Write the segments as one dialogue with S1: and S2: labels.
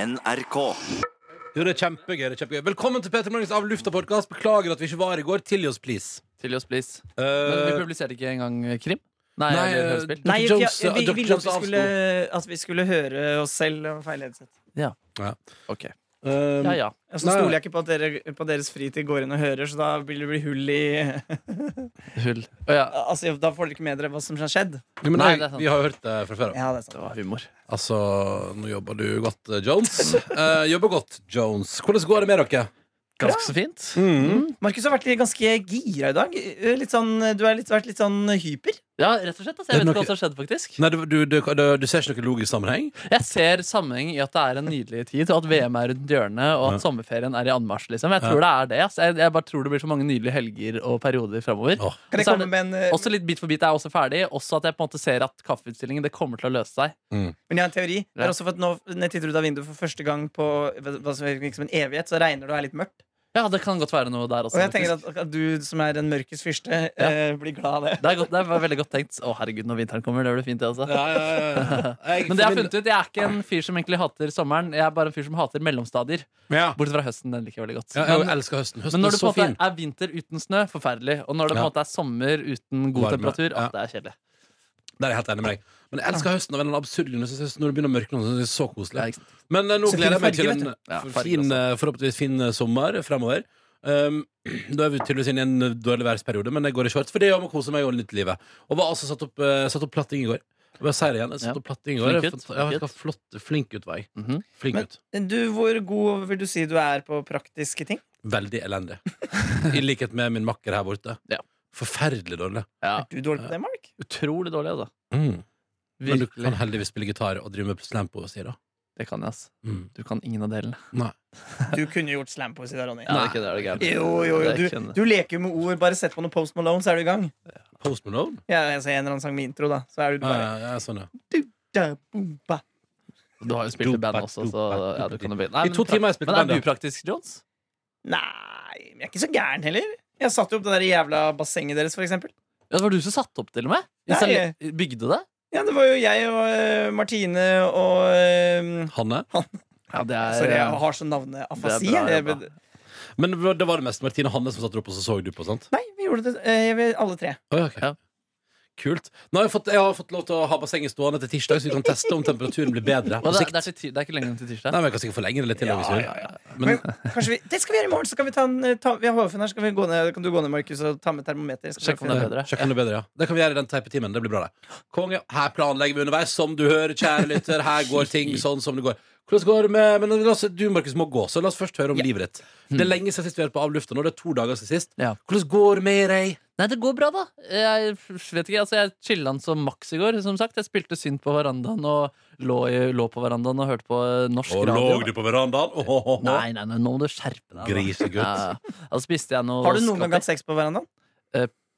S1: NRK.
S2: Jo, det er kjempegøy. det er kjempegøy Velkommen til Peter Morgens Av lufta-podkast. Beklager at vi ikke var i går. Tilgi oss, please.
S3: Tilgi oss, please.
S2: Eh,
S3: Men vi publiserte ikke engang krim? Nei,
S2: Nei,
S3: eller
S2: eh,
S3: hørespill.
S2: Dr.
S4: Nei, vi,
S2: Jones,
S4: vi
S2: Dr.
S4: ville
S2: Jones
S4: at vi, skulle, at vi skulle høre oss selv om feil headset.
S3: Ok.
S2: eh,
S3: Ja, ja.
S4: Og så
S2: Nei.
S4: Altså, stoler jeg ikke på at dere på deres fritid går inn og hører, så da vil det bli hull i
S3: Hull. Å ja.
S4: Altså, Da får dere ikke med dere hva som har skjedd.
S2: jo, men
S3: Nei,
S2: jeg-
S3: det er sant.
S2: Vi har jo hørt det fra før av.
S4: Ja, det er sant.
S3: Det var humor.
S2: Altså, nå jobber du godt, eh, Jones. Eh, jobber godt, Jones. Hvordan går det med dere?
S3: Ganske så fint.
S2: Mm.
S4: Markus har vært ganske gira i dag. Litt sånn, du har litt, vært litt sånn hyper.
S3: Ja, rett og slett. Altså,
S2: Det er
S3: jeg vet
S2: nok-
S3: ikke hva som har skjedd, faktisk.
S2: Nei, du, du, du, du, du ser ikke noen logisk sammenheng?
S3: Jeg ser sammenheng i at det er en nydelig tid, og at VM er rundt hjørnet, og at sommerferien er i anmarsj, liksom. Jeg tror det er det. ass. Jeg, jeg bare tror det blir så mange nydelige helger og perioder framover.
S2: Åh.
S4: Kan jeg
S3: Så er
S4: komme
S3: det-
S4: med en eh,
S3: Også litt Bit for bit er også ferdig. Også at jeg på en måte ser at kaffeutstillingen det kommer til å løse seg.
S2: Mm.
S4: Men jeg har en teori. Det
S3: Ja.
S4: er også for at nå, når jeg titter ut av vinduet for første gang på hva hva som virker som en evighet, så regner det og er litt mørkt.
S3: Ja, det kan godt være noe der også.
S4: Og jeg tenker
S3: faktisk.
S4: at, at du som er en mørkets fyrste, eh, blir glad av det.
S3: Det er, godt, det er veldig godt tenkt. Å, herregud, når vinteren kommer, det blir fint, det altså. også.
S2: Ja, ja, ja. Jeg,
S3: Men det jeg har funnet ut, jeg er ikke en fyr som egentlig hater sommeren. Jeg er bare en fyr som hater mellomstadier.
S2: ja.
S3: Bortsett fra høsten, den liker jeg veldig godt.
S2: Ja, jeg
S3: men,
S2: elsker høsten.
S3: men
S2: Høsten
S3: når
S2: er
S3: det på
S2: så
S3: en
S2: fin.
S3: måte er vinter uten snø, forferdelig. Og når det på en
S2: Ja.
S3: måte er sommer uten god
S2: Varme,
S3: temperatur,
S2: ja.
S3: å, det er kjedelig.
S2: Der er jeg helt enig med deg. Men jeg elsker høsten av en eller annen absurd grunn. Jeg synes Når det begynner å mørkne, så synes jeg det er så
S3: Ja,
S2: koselig.
S3: ikke sant?
S2: Men eh, nå
S4: Så
S2: gleder jeg
S4: fine
S2: meg til
S4: farger,
S2: en
S3: Ja, altså.
S2: eh,
S3: farger
S2: fin, eh, forhåpentligvis fin eh, sommer fremover. Um, da er vi tydeligvis inne i en eh, dårlig værsperiode, men det går i shorts. For det gjør meg å kose meg og nyte livet. Og var altså satt opp, eh, satt opp platting i går. Jeg bare sier det igjen. Jeg satt
S3: Ja.
S2: opp platting i går.
S3: Flink
S2: Jeg
S3: gutt,
S2: fant- ja,
S3: flink
S2: jeg
S3: gutt.
S2: var flott, flink gutt var jeg.
S3: Mhm.
S2: Flink
S4: Men-
S2: gutt.
S4: Du, Hvor god vil du si du er på praktiske ting?
S2: Veldig elendig. I likhet med min makker her borte.
S3: Ja.
S2: Forferdelig dårlig.
S3: ja.
S4: Er du dårlig på det, Mark?
S3: Utrolig dårlig, altså.
S2: Men du
S3: Virkelig.
S2: kan heldigvis spille gitar og drive med slampoesi, da.
S3: Det kan jeg, ass.
S2: Mm.
S3: Du kan ingen av delene.
S2: Nei.
S4: Du kunne gjort slampoesi da, Ronny.
S3: Ja, det er ikke det, det er det gærent.
S4: Jo, jo, jo.
S3: Det er ikke
S4: Du,
S3: en-
S4: du leker jo med ord. Bare sett på noe Post Malone, så er du i gang.
S2: Post Malone?
S4: Ja, altså, en eller annen sang med intro, da. Så er du
S2: Ja,
S4: bare
S2: ja, ja, sånn, ja.
S4: da, boom, ba.
S3: Du har jo spilt i band også, så ja, du kan jo begynne.
S2: I
S3: Nei,
S2: to
S3: men
S2: timer har jeg
S3: prakt-
S2: spilt i
S3: Men
S2: band,
S3: er
S2: da.
S3: du praktisk, Jones?
S4: Nei, men jeg er ikke så gæren heller. Jeg satte jo opp det der jævla bassenget deres, for eksempel.
S3: Ja, det var du som satte opp, til og med.
S4: Nei.
S3: Installe- Bygde det?
S4: Ja, det var jo jeg og eh, Martine og eh,
S2: Hanne?
S3: Ja, det er
S4: Sorry, jeg har så navneafasi.
S3: Det er bra
S4: jeg.
S3: jobba.
S2: Men det var det mest Martine Hanne som satte det opp, og så så du på, sant?
S4: Nei, vi gjorde det eh, vi- alle tre.
S2: Oi, ok.
S3: Ja.
S2: Kult. Nå har jeg, fått, jeg har fått lov til å ha bassenget stående til tirsdag, så vi kan teste om temperaturen blir bedre.
S3: Og
S2: På
S3: det,
S2: sikt.
S3: det, er til, ti- det er ikke lenger enn til tirsdag.
S2: Nei, men Jeg kan sikkert forlenge det litt til. hvis du vil.
S4: Men
S2: Men
S4: kanskje vi, det skal vi gjøre i morgen! Så skal vi ta en, eh, ta, vi har HF-en her, så kan, vi gå ned, kan du gå ned, Markus, og ta med termometer. Skal vi
S3: Sjekk om det er
S4: finne-
S3: bedre.
S2: sjekk eh, om det er bedre, ja. Det kan vi gjøre i den teipe timen. Det blir bra, det. Konge. Her planlegger vi underveis, som du hører, kjære lytter. Her går ting sånn som det går. Hvordan går det med Men la oss, Du, Markus, må gå, så la oss først høre om livet ditt.
S3: Hmm.
S2: Det er lenge siden sist vi har vært på Av lufta nå. Det er to dager siden sist.
S3: Ja.
S2: Hvordan går det med deg?
S3: Nei, det går bra, da. Jeg vet ikke, altså jeg chilla den som maks i går. som sagt Jeg spilte synt på verandaen og lå, i- lå på verandaen og hørte på eh, norsk
S2: Og
S3: radio.
S2: lå du på verandaen? Åh, åh, åh.
S3: Nei, nei, nei, nå må du skjerpe deg. da.
S2: Grisegutt.
S3: Ja, ja. Da spiste jeg noe
S4: Har du noen gang
S3: skvatter.
S4: hatt sex på verandaen?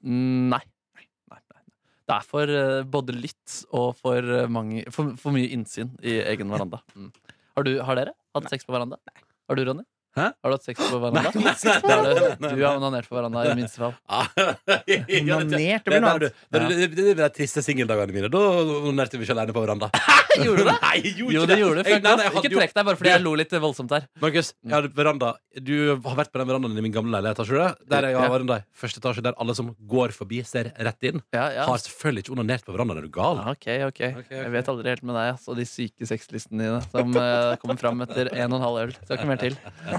S3: Mm, Nei. Nei, nei, nei. Det er for eh, både litt og for, eh, mange, for, for mye innsyn i egen veranda. Mm. Har, du, har dere hatt sex på veranda? Har du, Ronny?
S2: Hæ?
S3: Har du hatt sex på veranda?
S2: Nei, nei,
S3: Da er
S2: nei,
S3: det-
S2: nei,
S3: Du har onanert på veranda, i minste fall.
S2: Ah, ja, det-
S4: Onanert, det
S2: Det
S4: blir noe
S2: er
S4: annet.
S2: det, det, det, det, det er de triste singeldagene mine. Da onanerte vi ikke alene på veranda.
S3: Gjorde du det?
S2: Nei, jeg gjorde
S3: Jo,
S2: ikke
S3: det gjorde du.
S2: Jeg- nei, nei, jeg
S3: Fuck off.
S2: hadde
S3: Ikke
S2: jo-
S3: trekk deg bare fordi jeg lo litt voldsomt der.
S2: Markus, jeg hadde veranda Du har vært på den verandaen i min gamle leilighet, har ikke du det? Der jeg har
S3: Ja.
S2: veranda i første etasje, der alle som går forbi, ser rett inn.
S3: Ja, ja.
S2: Har selvfølgelig ikke onanert på verandaen. Er du gal?
S3: Ja, ok, ok.
S2: ok.
S3: Jeg vet aldri helt med deg ass, og de syke sexlistene dine som eh, kommer fram etter en og en halv øl. Det skal ikke mer til.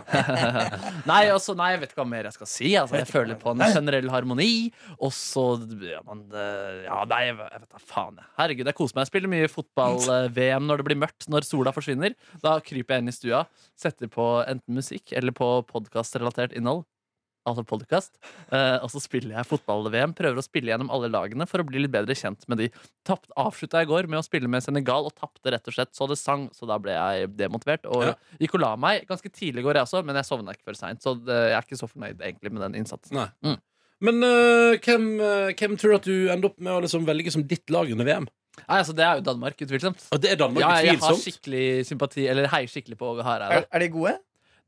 S3: nei, altså, nei, jeg vet ikke hva mer jeg skal si. Altså, jeg føler på en generell harmoni, og så ja, man, eh, ja, nei, jeg vet jeg vet da faen. jeg. Herregud, jeg koser meg. Jeg spiller mye fotball-VM når det blir mørkt, når sola forsvinner. Da kryper jeg inn i stua, setter på enten musikk eller på podkastrelatert innhold. Altså podcast. Eh, og så spiller jeg fotball-VM. Prøver å spille gjennom alle lagene for å bli litt bedre kjent med de tapt, avslutta i går med å spille med Senegal og tapte rett og slett så det sang. Så da ble jeg demotivert og
S2: Ja.
S3: gikk og la meg ganske tidlig i går, jeg også, men jeg sovna ikke før seint. Så det, jeg er ikke så fornøyd egentlig med den innsatsen.
S2: Nei.
S3: Mm.
S2: Men øh, hvem, øh, hvem tror du at du ender opp med å liksom velge som ditt lag under VM?
S3: Nei, altså Det er jo Danmark, utvilsomt.
S2: Og det er Danmark,
S3: Ja, jeg har
S2: utvilsomt.
S3: skikkelig sympati, eller heier skikkelig på Åge Hareide.
S4: Er, er de gode?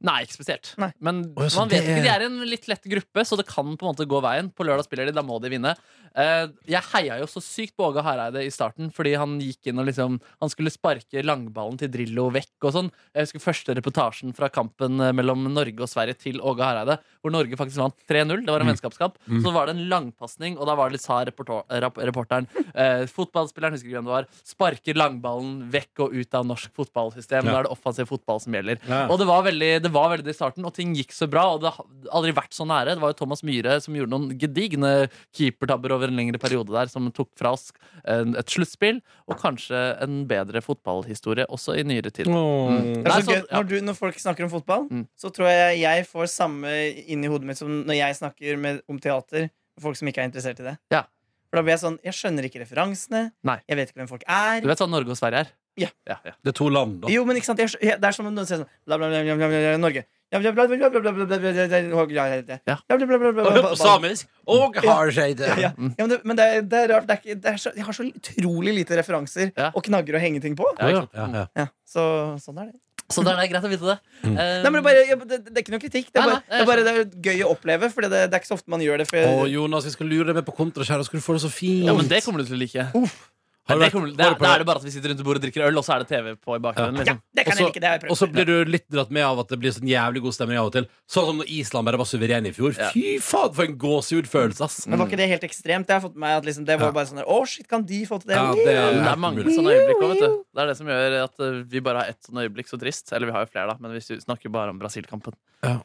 S3: Nei, ikke spesielt.
S4: Nei.
S3: Men
S2: Å, ja, så
S3: man vet
S2: det-
S3: ikke, de er en litt lett gruppe, så det kan på en måte gå veien. På lørdag spiller de, da må de vinne. Eh, jeg heia jo så sykt på Åge Hareide i starten, fordi han gikk inn og liksom Han skulle sparke langballen til Drillo vekk og sånn. Jeg husker første reportasjen fra kampen eh, mellom Norge og Sverige til Åge Hareide, hvor Norge faktisk vant 3-0. Det var en
S2: Mm.
S3: vennskapskamp. Så var det en langpasning, og da var det litt sa reporto- rap- reporteren eh, Fotballspilleren, husker ikke hvem det var, sparker langballen vekk og ut av norsk fotballsystem.
S2: Ja.
S3: Da er det offensiv fotball som gjelder.
S2: Ja.
S3: Og det var, veldig, det var veldig i starten, og ting gikk så bra. Og det har aldri vært så nære. Det var jo Thomas Myhre som gjorde noen gedigne keepertabber over en lengre periode der, som tok fra oss en- et sluttspill, og kanskje en bedre fotballhistorie også i nyere tid.
S2: Åh.
S4: Det er
S3: Nei,
S4: så
S3: sånn,
S4: gøy.
S3: ja.
S4: Når, du, når folk snakker om fotball,
S3: Mm.
S4: så tror jeg jeg får samme inni hodet mitt som når jeg snakker med, om teater med folk som ikke er interessert i det.
S3: Ja.
S4: For da blir jeg sånn Jeg skjønner ikke referansene.
S3: Nei.
S4: Jeg vet ikke hvem folk er.
S3: Du vet sånn Norge og Sverige er?
S4: Ja.
S3: ja, ja.
S2: Det er to land, da.
S4: Jo, men ikke sant jeg, skj- jeg, Det er som om noen sier sånn bla, bla, bla, bla, bla, bla, Norge. Ja, bla, bla, bla, bla, bla, bla, bla, bla, bla, bla, bla,
S3: Ja.
S4: bla, bla, bla, bla, bla, bla.
S2: Samisk og Harsheide.
S4: Ja,
S3: Mm.
S4: ja, men det, men det, er, det er rart. Det er ikke, det er så, jeg har så utrolig lite referanser
S3: Ja.
S4: og knagger å henge ting på.
S3: Ja, ikke sant?
S2: Ja, ja.
S4: Ja, så sånn er det.
S3: Så det er greit å vite det.
S2: Mm.
S3: Eh,
S4: Nei, men det, er bare, jeg- det, det er ikke noe kritikk. Det er
S3: Nei,
S4: bare,
S3: nei,
S4: det er, bare det er gøy å oppleve, for det, det er ikke så ofte man gjør det. For,
S2: Å, Jonas, vi skal lure deg med på kontra, kjære. Skal du få det så fint?
S3: ja, men det kommer du til å like.
S2: Har du vært-
S3: det kommer, det,
S2: har
S3: er,
S2: du
S3: da
S2: prøvd-
S3: er det bare at vi sitter rundt bordet og drikker øl, og så er det TV på i bakgrunnen.
S4: ja,
S3: Liksom.
S4: det kan
S2: Også-
S4: jeg ikke. Det har jeg
S2: Og
S4: prøvd.
S2: så blir du litt dratt med av at det blir sånn jævlig god stemning av og til. Sånn som når Island bare var suveren i fjor.
S3: Ja.
S2: Fy faen, for en gåsehudfølelse, ass.
S4: Men var ikke det helt ekstremt? Jeg har fått med meg at liksom, det
S2: Mm.
S4: var
S2: Ja.
S4: bare sånn der, Å, shit, kan de få til det?
S2: Ja, det
S3: Men
S2: er-
S3: det er mange sånne øyeblikk òg, vet du. Det er det som gjør at eh, vi bare har ett sånn øyeblikk, så trist. Eller vi har jo flere, da, men vi snakker bare om Brasil-kampen.
S2: Ja.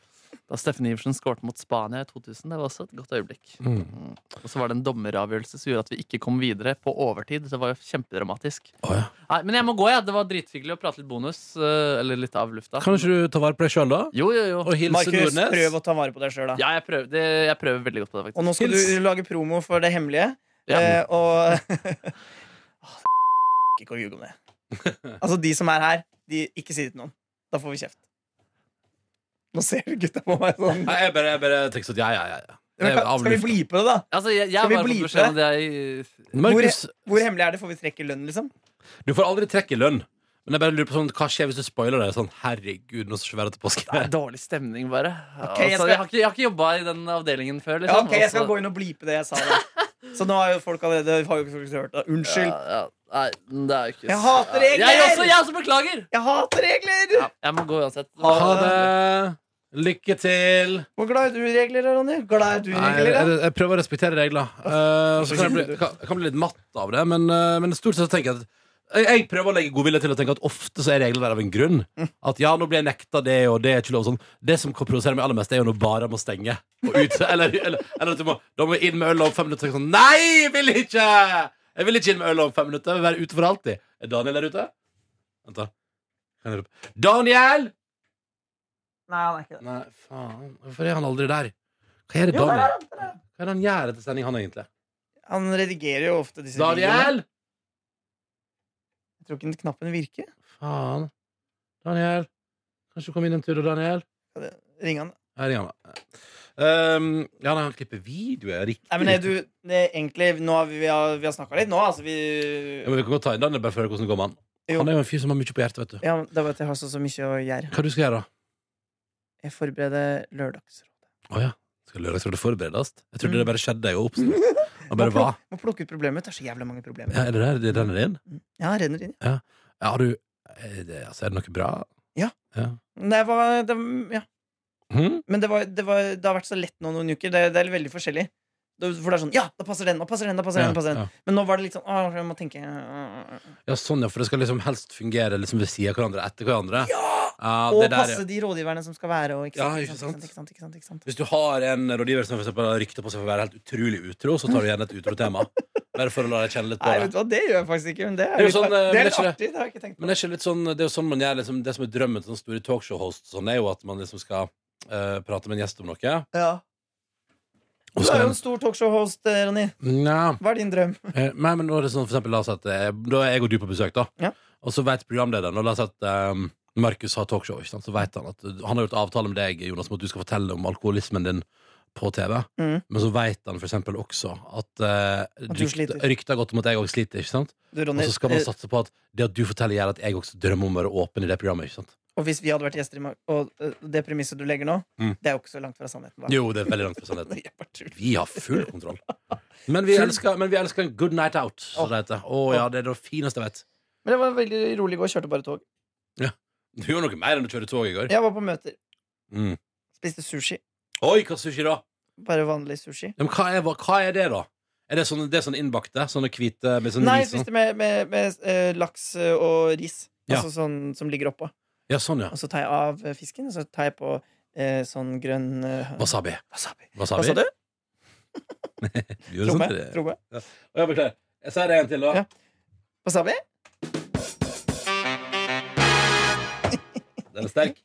S3: Da Steffen Iversen skårte mot Spania i 2000, det var også et godt øyeblikk. Mm. Og så var det en dommeravgjørelse som gjorde at vi ikke kom videre på overtid. Det var jo kjempedramatisk.
S2: Å, ja.
S3: Nei, men jeg må gå, jeg. Det var drithyggelig å prate litt bonus. eh, Eller litt av lufta.
S2: Kan ikke du ta vare på deg sjøl, da?
S3: Jo, jo, jo.
S2: Og hilse
S4: Markus, prøv
S2: Nordnes?
S4: å ta vare på deg sjøl, da.
S3: Ja, jeg prøver, det, jeg prøver veldig godt på det,
S4: Og
S3: faktisk.
S4: nå skal
S2: Hils.
S4: du lage promo for det hemmelige.
S3: Ja.
S4: Eh, og Ikke å ljuge om det. Altså, de som er her, de ikke si det til noen. Da får vi kjeft. Nå ser du gutta på meg sånn.
S2: Nei, jeg bare, jeg bare tenker sånn, ja, ja, ja, ja.
S4: Men,
S2: Det er
S4: kan, skal vi
S2: avluft.
S4: bli på det, da?
S3: Altså, jeg,
S4: Skal
S3: jeg
S4: vi
S3: bare får
S4: bleepe
S3: beskjed om at jeg
S2: Markus,
S4: Hvor hemmelig er det? Får vi trekk i lønn, liksom?
S2: du får aldri trekk i lønn. Men jeg bare lurer på sånn, hva skjer hvis du spoiler det? Sånn, herregud, nå skal vi være til
S3: Det er
S2: påske.
S3: dårlig stemning, bare.
S4: Ok, jeg
S3: altså,
S4: skal-
S3: jeg, har ikke, jeg har ikke jobba i den avdelingen før.
S4: Ja,
S3: Liksom.
S4: ok, jeg skal
S3: Altså,
S4: gå inn og blipe det jeg sa. Da. Så nå har jo folk allerede har jo ikke folk hørt det. Unnskyld.
S3: Ja, ja. Nei, det er jo ikke
S4: Jeg hater regler!
S3: Jeg også, jeg også beklager!
S4: Jeg hater regler!
S3: Ja, jeg må gå uansett.
S2: Ha det. Lykke til.
S4: Hvor glad er du i regler, Ronny? Glad er du i
S2: Nei,
S4: regler,
S2: jeg,
S4: da?
S2: jeg, jeg prøver å respektere regler. Eh, så kan jeg, bli, kan, jeg kan bli litt matt av det, men, eh, men stort sett så tenker jeg at jeg, jeg prøver å legge godvilje til å tenke at ofte så er regler der av en grunn. At ja, nå blir jeg nekta det, og det er ikke lov. Sånn. Det som provoserer meg aller mest, er jo når barer må stenge. Og ut, eller, eller, eller at du må, da må jeg inn med øl om fem minutter. Sånn, Nei, jeg vil ikke! Jeg vil ikke inn med øl om fem minutter. Jeg vil være ute for alltid. Er Daniel der ute? Vent, da. Kan jeg rope Daniel!
S4: Nei, han er ikke det.
S2: Nei, faen. Hvorfor er han aldri der? Hva er det
S4: Jo, der er
S2: Daniel?
S4: han, der er han.
S2: Hva er det han gjør etter sending, han egentlig?
S4: Han redigerer jo ofte disse videoene.
S2: Daniel!
S4: Jeg tror ikke den knappen virker.
S2: Faen. Daniel. Kanskje du kom inn en tur, Daniel?
S4: Ring han.
S2: Her er han. Um, ja, nei, han klipper video. Ja, riktig.
S4: Nei, men nei, du, det er egentlig Nå har vi, vi har, vi har snakka litt nå, altså. Vi
S2: ja, men vi kan godt ta inn Daniel bare for å høre hvordan det går med han.
S4: Jo.
S2: Han er jo en fyr som har mye på hjertet, vet du.
S4: ja, men Det var at jeg har så, så mye å gjøre.
S2: Hva du skal gjøre, da?
S4: Jeg forbereder Lørdagsrådet.
S2: Å ja. Skal lørdagsrådet forberedes? Jeg
S4: Mm.
S2: trodde det bare skjedde og oppsto. Han bare
S4: Må pluk-
S2: var.
S4: Må plukke ut problemer. Det er så jævla mange problemer.
S2: Ja, er det der? Det er den er din?
S4: Ja, renner inn.
S2: Ja, har du er det, altså, er det noe bra?
S4: Det var, det, ja.
S2: Hm?
S4: Men det, var, det, var, det har vært så lett nå noen uker. Det, det er veldig forskjellig. Det, for det er sånn Ja, da passer den, da passer den, da passer
S2: Ja,
S4: den. da passer den.
S2: ja.
S4: Men nå var det litt sånn Åh, jeg må tenke øh, øh, øh.
S2: ja, sånn ja, for det skal liksom helst fungere liksom ved siden av hverandre, etter hverandre. Ja!
S4: Og
S2: det der,
S4: passe
S2: ja.
S4: de rådgiverne som skal være, og ikke
S2: Ja,
S4: sant,
S2: ikke
S4: ikke sant,
S2: sant?
S4: ikke sant, ikke sant, ikke sant.
S2: Hvis du har en rådgiver som for eksempel har rykte på seg for å være helt utrolig utro, så tar du gjerne et utro-tema. Bare for å la deg kjenne litt på
S4: Nei,
S2: det.
S4: vet du hva, det gjør jeg faktisk ikke. Men det er,
S2: Det er jo
S4: litt,
S2: sånn, eh,
S4: det
S2: men
S4: er
S2: det er
S4: litt
S2: ikke
S4: artig. Det har jeg ikke tenkt på.
S2: Men det er ikke litt sånn, det er jo sånn man gjør liksom, det som er drømmen til sånne store talkshow-hosts, sånn, er jo at man liksom skal eh, prate med en gjest om noe.
S4: Ja.
S2: Og
S4: Du
S2: skal
S4: er jo
S2: den-
S4: en stor talkshow-host, eh, Ronny.
S2: Nja,
S4: Hva er din drøm?
S2: eh, nei, men nå er det sånn, for eksempel, la oss si at eh, da er jeg og du på besøk, da.
S4: Ja.
S2: Og så vet programlederen, og la oss si at eh, Markus har talkshow, ikke sant? så vet han at eh, han har gjort avtale med deg, Jonas, om at du skal fortelle om alkoholismen din på TV.
S4: Mm.
S2: Men så vet han for eksempel også at uh,
S4: At du sliter.
S2: rykter har gått om at jeg òg sliter, ikke sant?
S4: Du,
S2: Og
S4: Ronny,
S2: så skal man
S4: eh,
S2: satse på at det at du forteller, gjør at jeg også drømmer om å være åpen i det programmet. ikke sant?
S4: Og hvis vi hadde vært gjester i Mag... Og øh, det premisset du legger nå,
S2: Mm.
S4: det er jo ikke så langt fra sannheten. hva?
S2: Jo, det er veldig langt fra sannheten.
S4: Jeg bare tuller.
S2: Vi har full kontroll. Men vi elsker, men vi elsker en good night out, som det heter. Å ja, det er det fineste jeg vet.
S4: Men det var veldig rolig i går. Kjørte bare tog.
S2: Du gjorde noe mer enn å kjøre tog i går.
S4: Jeg var på møter.
S2: Mm.
S4: Spiste sushi.
S2: Oi, hva sushi da?
S4: Bare vanlig sushi.
S2: Ja, men hva er, hva er det, da? Er det sånne, det er sånne innbakte? Sånne hvite med sånn
S4: Nei,
S2: ris? sånn?
S4: spiste med, med, med eh, laks eh, og ris.
S2: Ja.
S4: Altså sånn som ligger oppå.
S2: Ja, sånn, ja.
S4: Og så tar jeg av eh, fisken, og så tar jeg på eh, sånn grønn eh,
S2: Wasabi.
S4: wasabi.
S2: Wasabi.
S4: Hva sa du?
S2: Du gjorde
S4: Tromme?
S2: sånn til det.
S4: Tromme?
S2: Å, ja, beklager. Jeg sier det en til, da.
S4: Ja. Wasabi?
S2: Den er sterk.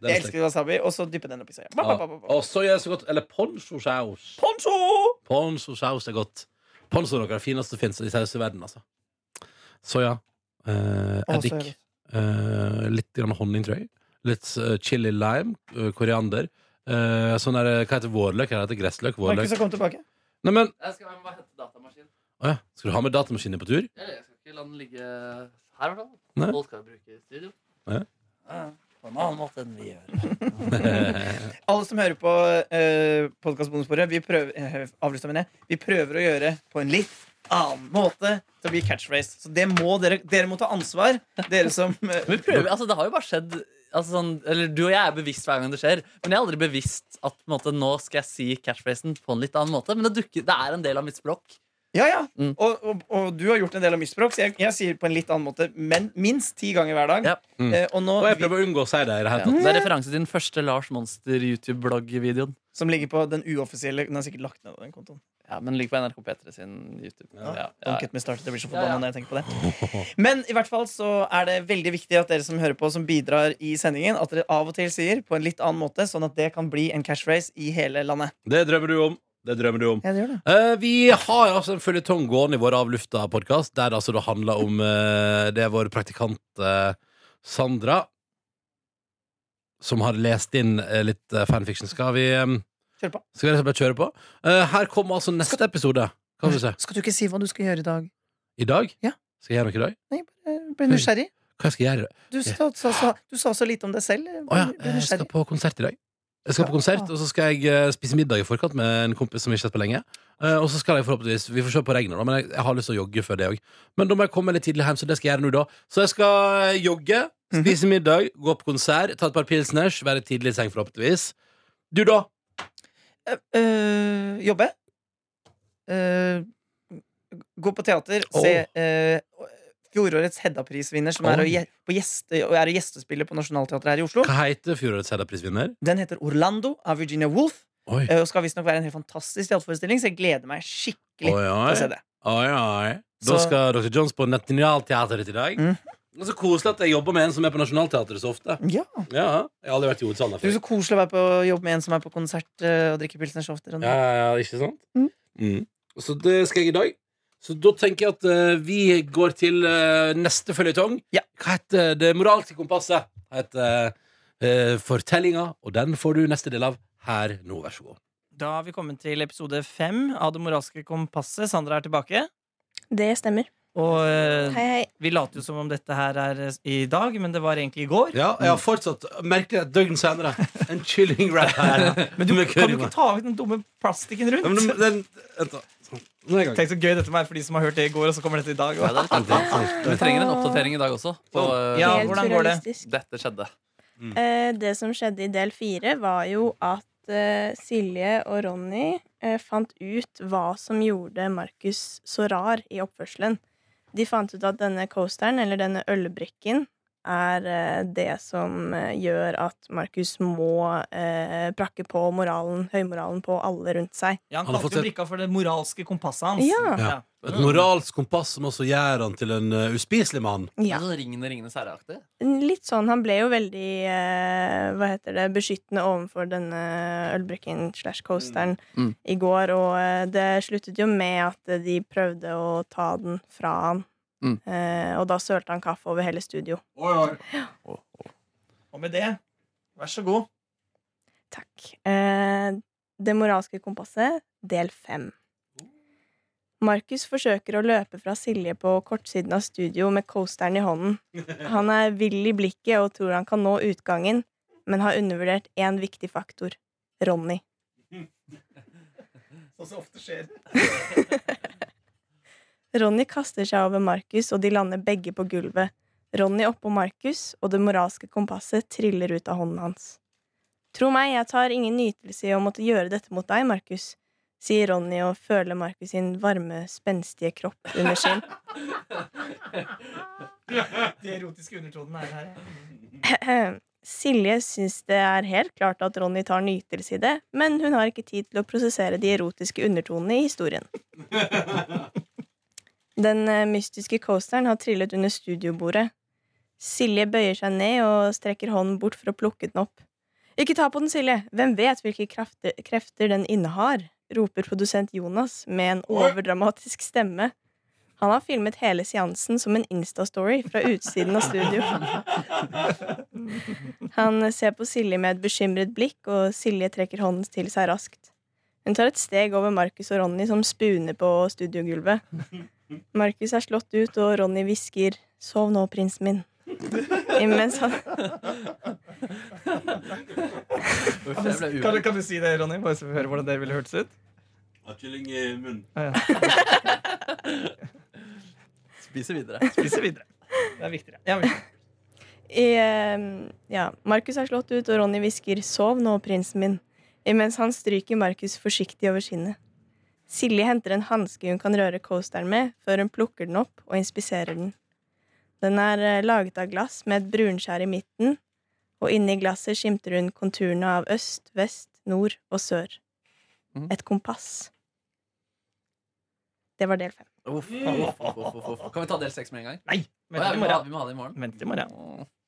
S2: Den er
S4: Jeg
S2: sterk.
S4: elsker wasabi. Og så dyppe den oppi soya. Ba,
S2: Ja.
S4: ba, ba, ba, ba.
S2: Og så gjør jeg så godt Eller ponchosaus.
S4: Poncho!
S2: Ponchosaus er godt. Poncho er noe av det fineste som fins i saus i verden, altså. Soya. Eh,
S4: Å, så er
S2: eddik.
S4: det-
S2: Eh, litt grann honning, tror jeg. Litt eh, chili lime. eh, koriander. Eh, sånn der, hva heter vårløk? Eller heter det gressløk?
S4: Markus
S2: Vårløk.
S4: har kommet tilbake.
S2: Nei, men
S3: Jeg skal bare hente datamaskinen.
S2: Å ja. Skal du ha med datamaskinen på tur?
S3: Jeg skal ikke la den ligge her, i hvert
S2: Nei.
S3: fall. Folk skal jo bruke studio.
S2: Nei.
S3: På en annen måte enn vi gjør.
S4: Alle som hører på uh, podkastbonusbordet, vi, prøver- eh, avrustet med det. vi prøver å gjøre på en litt annen måte til å bli catchphrase. Så det må dere, dere må ta ansvar, dere som eh,
S3: Vi prøver, altså Det har jo bare skjedd altså sånn, eller Du og jeg er bevisst hver gang det skjer, men jeg er aldri bevisst at på en måte, nå skal jeg si catchphrasen på en litt annen måte. Men det, dukker, det er en del av mitt språk.
S4: Ja, ja.
S3: Mm.
S4: Og, og, og du har gjort en del av misspråk, så jeg, jeg sier på en litt annen måte, men minst ti ganger hver dag.
S3: Ja.
S2: Mm.
S4: Eh, og nå,
S2: Og jeg
S4: vi,
S2: prøver å unngå å si det i det hele
S3: Ja,
S2: tatt.
S3: det er referanse til den første Lars Monster YouTube-blogg-videoen.
S4: som ligger på den uoffisielle Den er sikkert lagt ned, den kontoen.
S3: Ja, Men ligger på NRK P3 sin YouTube.
S2: Ja.
S3: Ja, ja.
S4: Don't get me started, jeg blir
S3: Ja,
S4: så forbanna
S3: ja.
S4: når jeg tenker på det. Men i hvert fall så er det veldig viktig at dere som hører på, som bidrar i sendingen, at dere av og til sier på en litt annen måte, sånn at det kan bli en cashrace i hele landet.
S2: Det drømmer du om. Det drømmer du om.
S4: Ja, det gjør det.
S2: Eh, vi har altså en føljetong gående i vår Av lufta-podkast, der det altså det handler om eh, Det er vår praktikant eh, Sandra som har lest inn eh, litt eh, fanfiction. Skal vi eh,
S4: Kjør på.
S2: Skal vi rett og slett bare kjøre på? Eh, her kommer altså neste episode. Kan vi se.
S4: Skal du ikke si hva du skal gjøre i dag?
S2: I dag?
S4: Ja.
S2: Skal jeg gjøre noe i dag?
S4: Nei, bare bli nysgjerrig.
S2: Hva skal jeg gjøre?
S4: Du sa, sa, sa, du sa så lite om deg selv. Bli,
S2: Å ja, eh,
S4: bli
S2: jeg skal
S4: nysgjerrig.
S2: på konsert i dag. Jeg skal på konsert, og så skal jeg eh, spise middag i forkant med en kompis som vi ikke har sett på lenge. Eh, Og så skal jeg forhåpentligvis Vi får se på regnet, da, men jeg, jeg har lyst til å jogge før det òg. Men da må jeg komme litt tidlig hjem, så det skal jeg gjøre nå, da. Så jeg skal eh, jogge,
S4: Mhm.
S2: spise middag, gå på konsert, ta et par pilsners, være tidlig i seng, forhåpentligvis. Du, da?
S4: Eh, eh, jobbe. Eh, gå på teater.
S2: Åh.
S4: Se eh, fjorårets Hedda-prisvinner, som er, å,
S2: Oi.
S4: gje- på gjeste, og er å gjestespiller på Nationaltheatret her i Oslo.
S2: Hva heter fjorårets Hedda-prisvinner?
S4: Den heter Orlando av Virginia Woolf.
S2: Oi.
S4: eh, Og skal visstnok være en helt fantastisk teaterforestilling, så jeg gleder meg skikkelig
S2: Oi,
S4: til å se
S2: oi.
S4: det.
S2: Oi, oi. Da
S4: Så-
S2: skal Dr. Jones på Nationaltheatret i dag.
S4: Mhm.
S2: Det er så koselig at jeg jobber med en som er på Nationaltheatret så ofte.
S4: Ja,
S2: Ja, jeg har aldri vært i hovedsalen her
S4: det
S2: før.
S4: er så koselig å være på jobb med en som er på konsert eh, og drikker pilsner så ofte. Ronny.
S2: Ja, ja, ja, ikke sant?
S4: Mm.
S2: Mm. Så det skal jeg i dag. Så da tenker jeg at eh, vi går til eh, neste føljetong.
S4: Ja.
S2: Hva heter det moralske kompasset? Heter uh, Fortellinga, og den får du neste del av her nå. Vær så god.
S4: Da har vi kommet til episode fem av Det moralske kompasset. Sandra er tilbake.
S1: Det stemmer.
S4: Og eh,
S1: Hei, hei.
S4: vi later jo som om dette her er eh, i dag, men det var egentlig i går.
S2: Ja, jeg har fortsatt merket et døgn senere en kylling wrap her. Men du
S4: Kan du ikke ta vekk den dumme plastikken rundt?
S2: Nå
S4: Tenk så gøy dette var for de som har hørt det i går, og så kommer dette i dag.
S3: Ja, det er litt artig. Vi trenger en oppdatering i dag også. På, eh,
S4: Ja,
S1: Helt
S4: hvordan går det?
S1: surrealistisk.
S3: Dette skjedde.
S1: Eh, det som skjedde i del fire, var jo at eh, Silje og Ronny eh, fant ut hva som gjorde Markus så rar i oppførselen. De fant ut at denne coasteren, eller denne ølbrikken, er eh, det som eh, gjør at Markus må eh, prakke på moralen, høymoralen på alle rundt seg.
S4: Ja, han
S2: Han har fått
S4: kalte jo
S2: et-
S4: brikka for det moralske kompasset hans.
S1: Ja.
S2: Ja. Et moralsk kompass som også gjør han til en eh, uspiselig mann.
S1: Ja.
S3: Sånn Ringende, ringende særaktig.
S1: Litt sånn. Han ble jo veldig eh, hva heter det, beskyttende overfor denne ølbrikken slash coasteren
S3: Mm.
S1: i går, og eh, det sluttet jo med at de prøvde å ta den fra han.
S3: Mm.
S1: Eh, og da sølte han kaffe over hele studio.
S4: Og med det, vær så god.
S1: Takk. Eh, det moralske kompasset, del fem. Markus forsøker å løpe fra Silje på kortsiden av studio med coasteren i hånden. Han er vill i blikket og tror han kan nå utgangen, men har undervurdert én viktig faktor Ronny.
S4: Sånn som ofte skjer.
S1: Ronny kaster seg over Markus, og de lander begge på gulvet. Ronny oppå Markus, og det moralske kompasset triller ut av hånden hans. Tro meg, jeg tar ingen nytelse i å måtte gjøre dette mot deg, Markus, sier Ronny og føler Markus sin varme, spenstige kropp under sin.
S4: De erotiske undertonene er her.
S1: Eh, Silje syns det er helt klart at Ronny tar nytelse i det, men hun har ikke tid til å prosessere de erotiske undertonene i historien. Den eh, mystiske coasteren har trillet under studiobordet. Silje bøyer seg ned og strekker hånden bort for å plukke den opp. Ikke ta på den, Silje! Hvem vet hvilke krefter, krefter den innehar? roper produsent Jonas med en overdramatisk stemme. Han har filmet hele seansen som en Insta-story fra utsiden av studio. Han ser på Silje med et bekymret blikk, og Silje trekker hånden til seg raskt. Hun tar et steg over Markus og Ronny, som spuner på studiogulvet. Markus er slått ut, og Ronny hvisker 'Sov nå, prinsen min'. Imens han
S3: Uff, jeg ble
S4: Kan, du-
S3: uvel.
S4: kan du si det, Ronny? Bare så vi hører hvordan det ville hørtes ut.
S2: Har kylling i munnen.
S3: Spiser videre.
S4: Spiser videre. Det er viktigere. Ja, men-
S1: I, eh, ja, Markus er slått ut, og Ronny hvisker 'sov nå, prinsen min', imens han stryker Markus forsiktig over kinnet. Silje henter en hanske hun kan røre coasteren med, før hun plukker den opp og inspiserer den. Den er eh, laget av glass med et brunskjær i midten, og inni glasset skimter hun konturene av øst, vest, nord og sør.
S3: Mhm.
S1: Et kompass. Det var del fem.
S3: Uff, uff, uff, uff, uff. Kan vi ta del seks med en gang?
S4: Nei!
S3: Å,
S4: Vent
S3: ja,
S4: til i
S3: vi, må ha,
S4: morgen.
S3: vi må ha det i morgen.
S4: Vent til i morgen.
S3: Åh.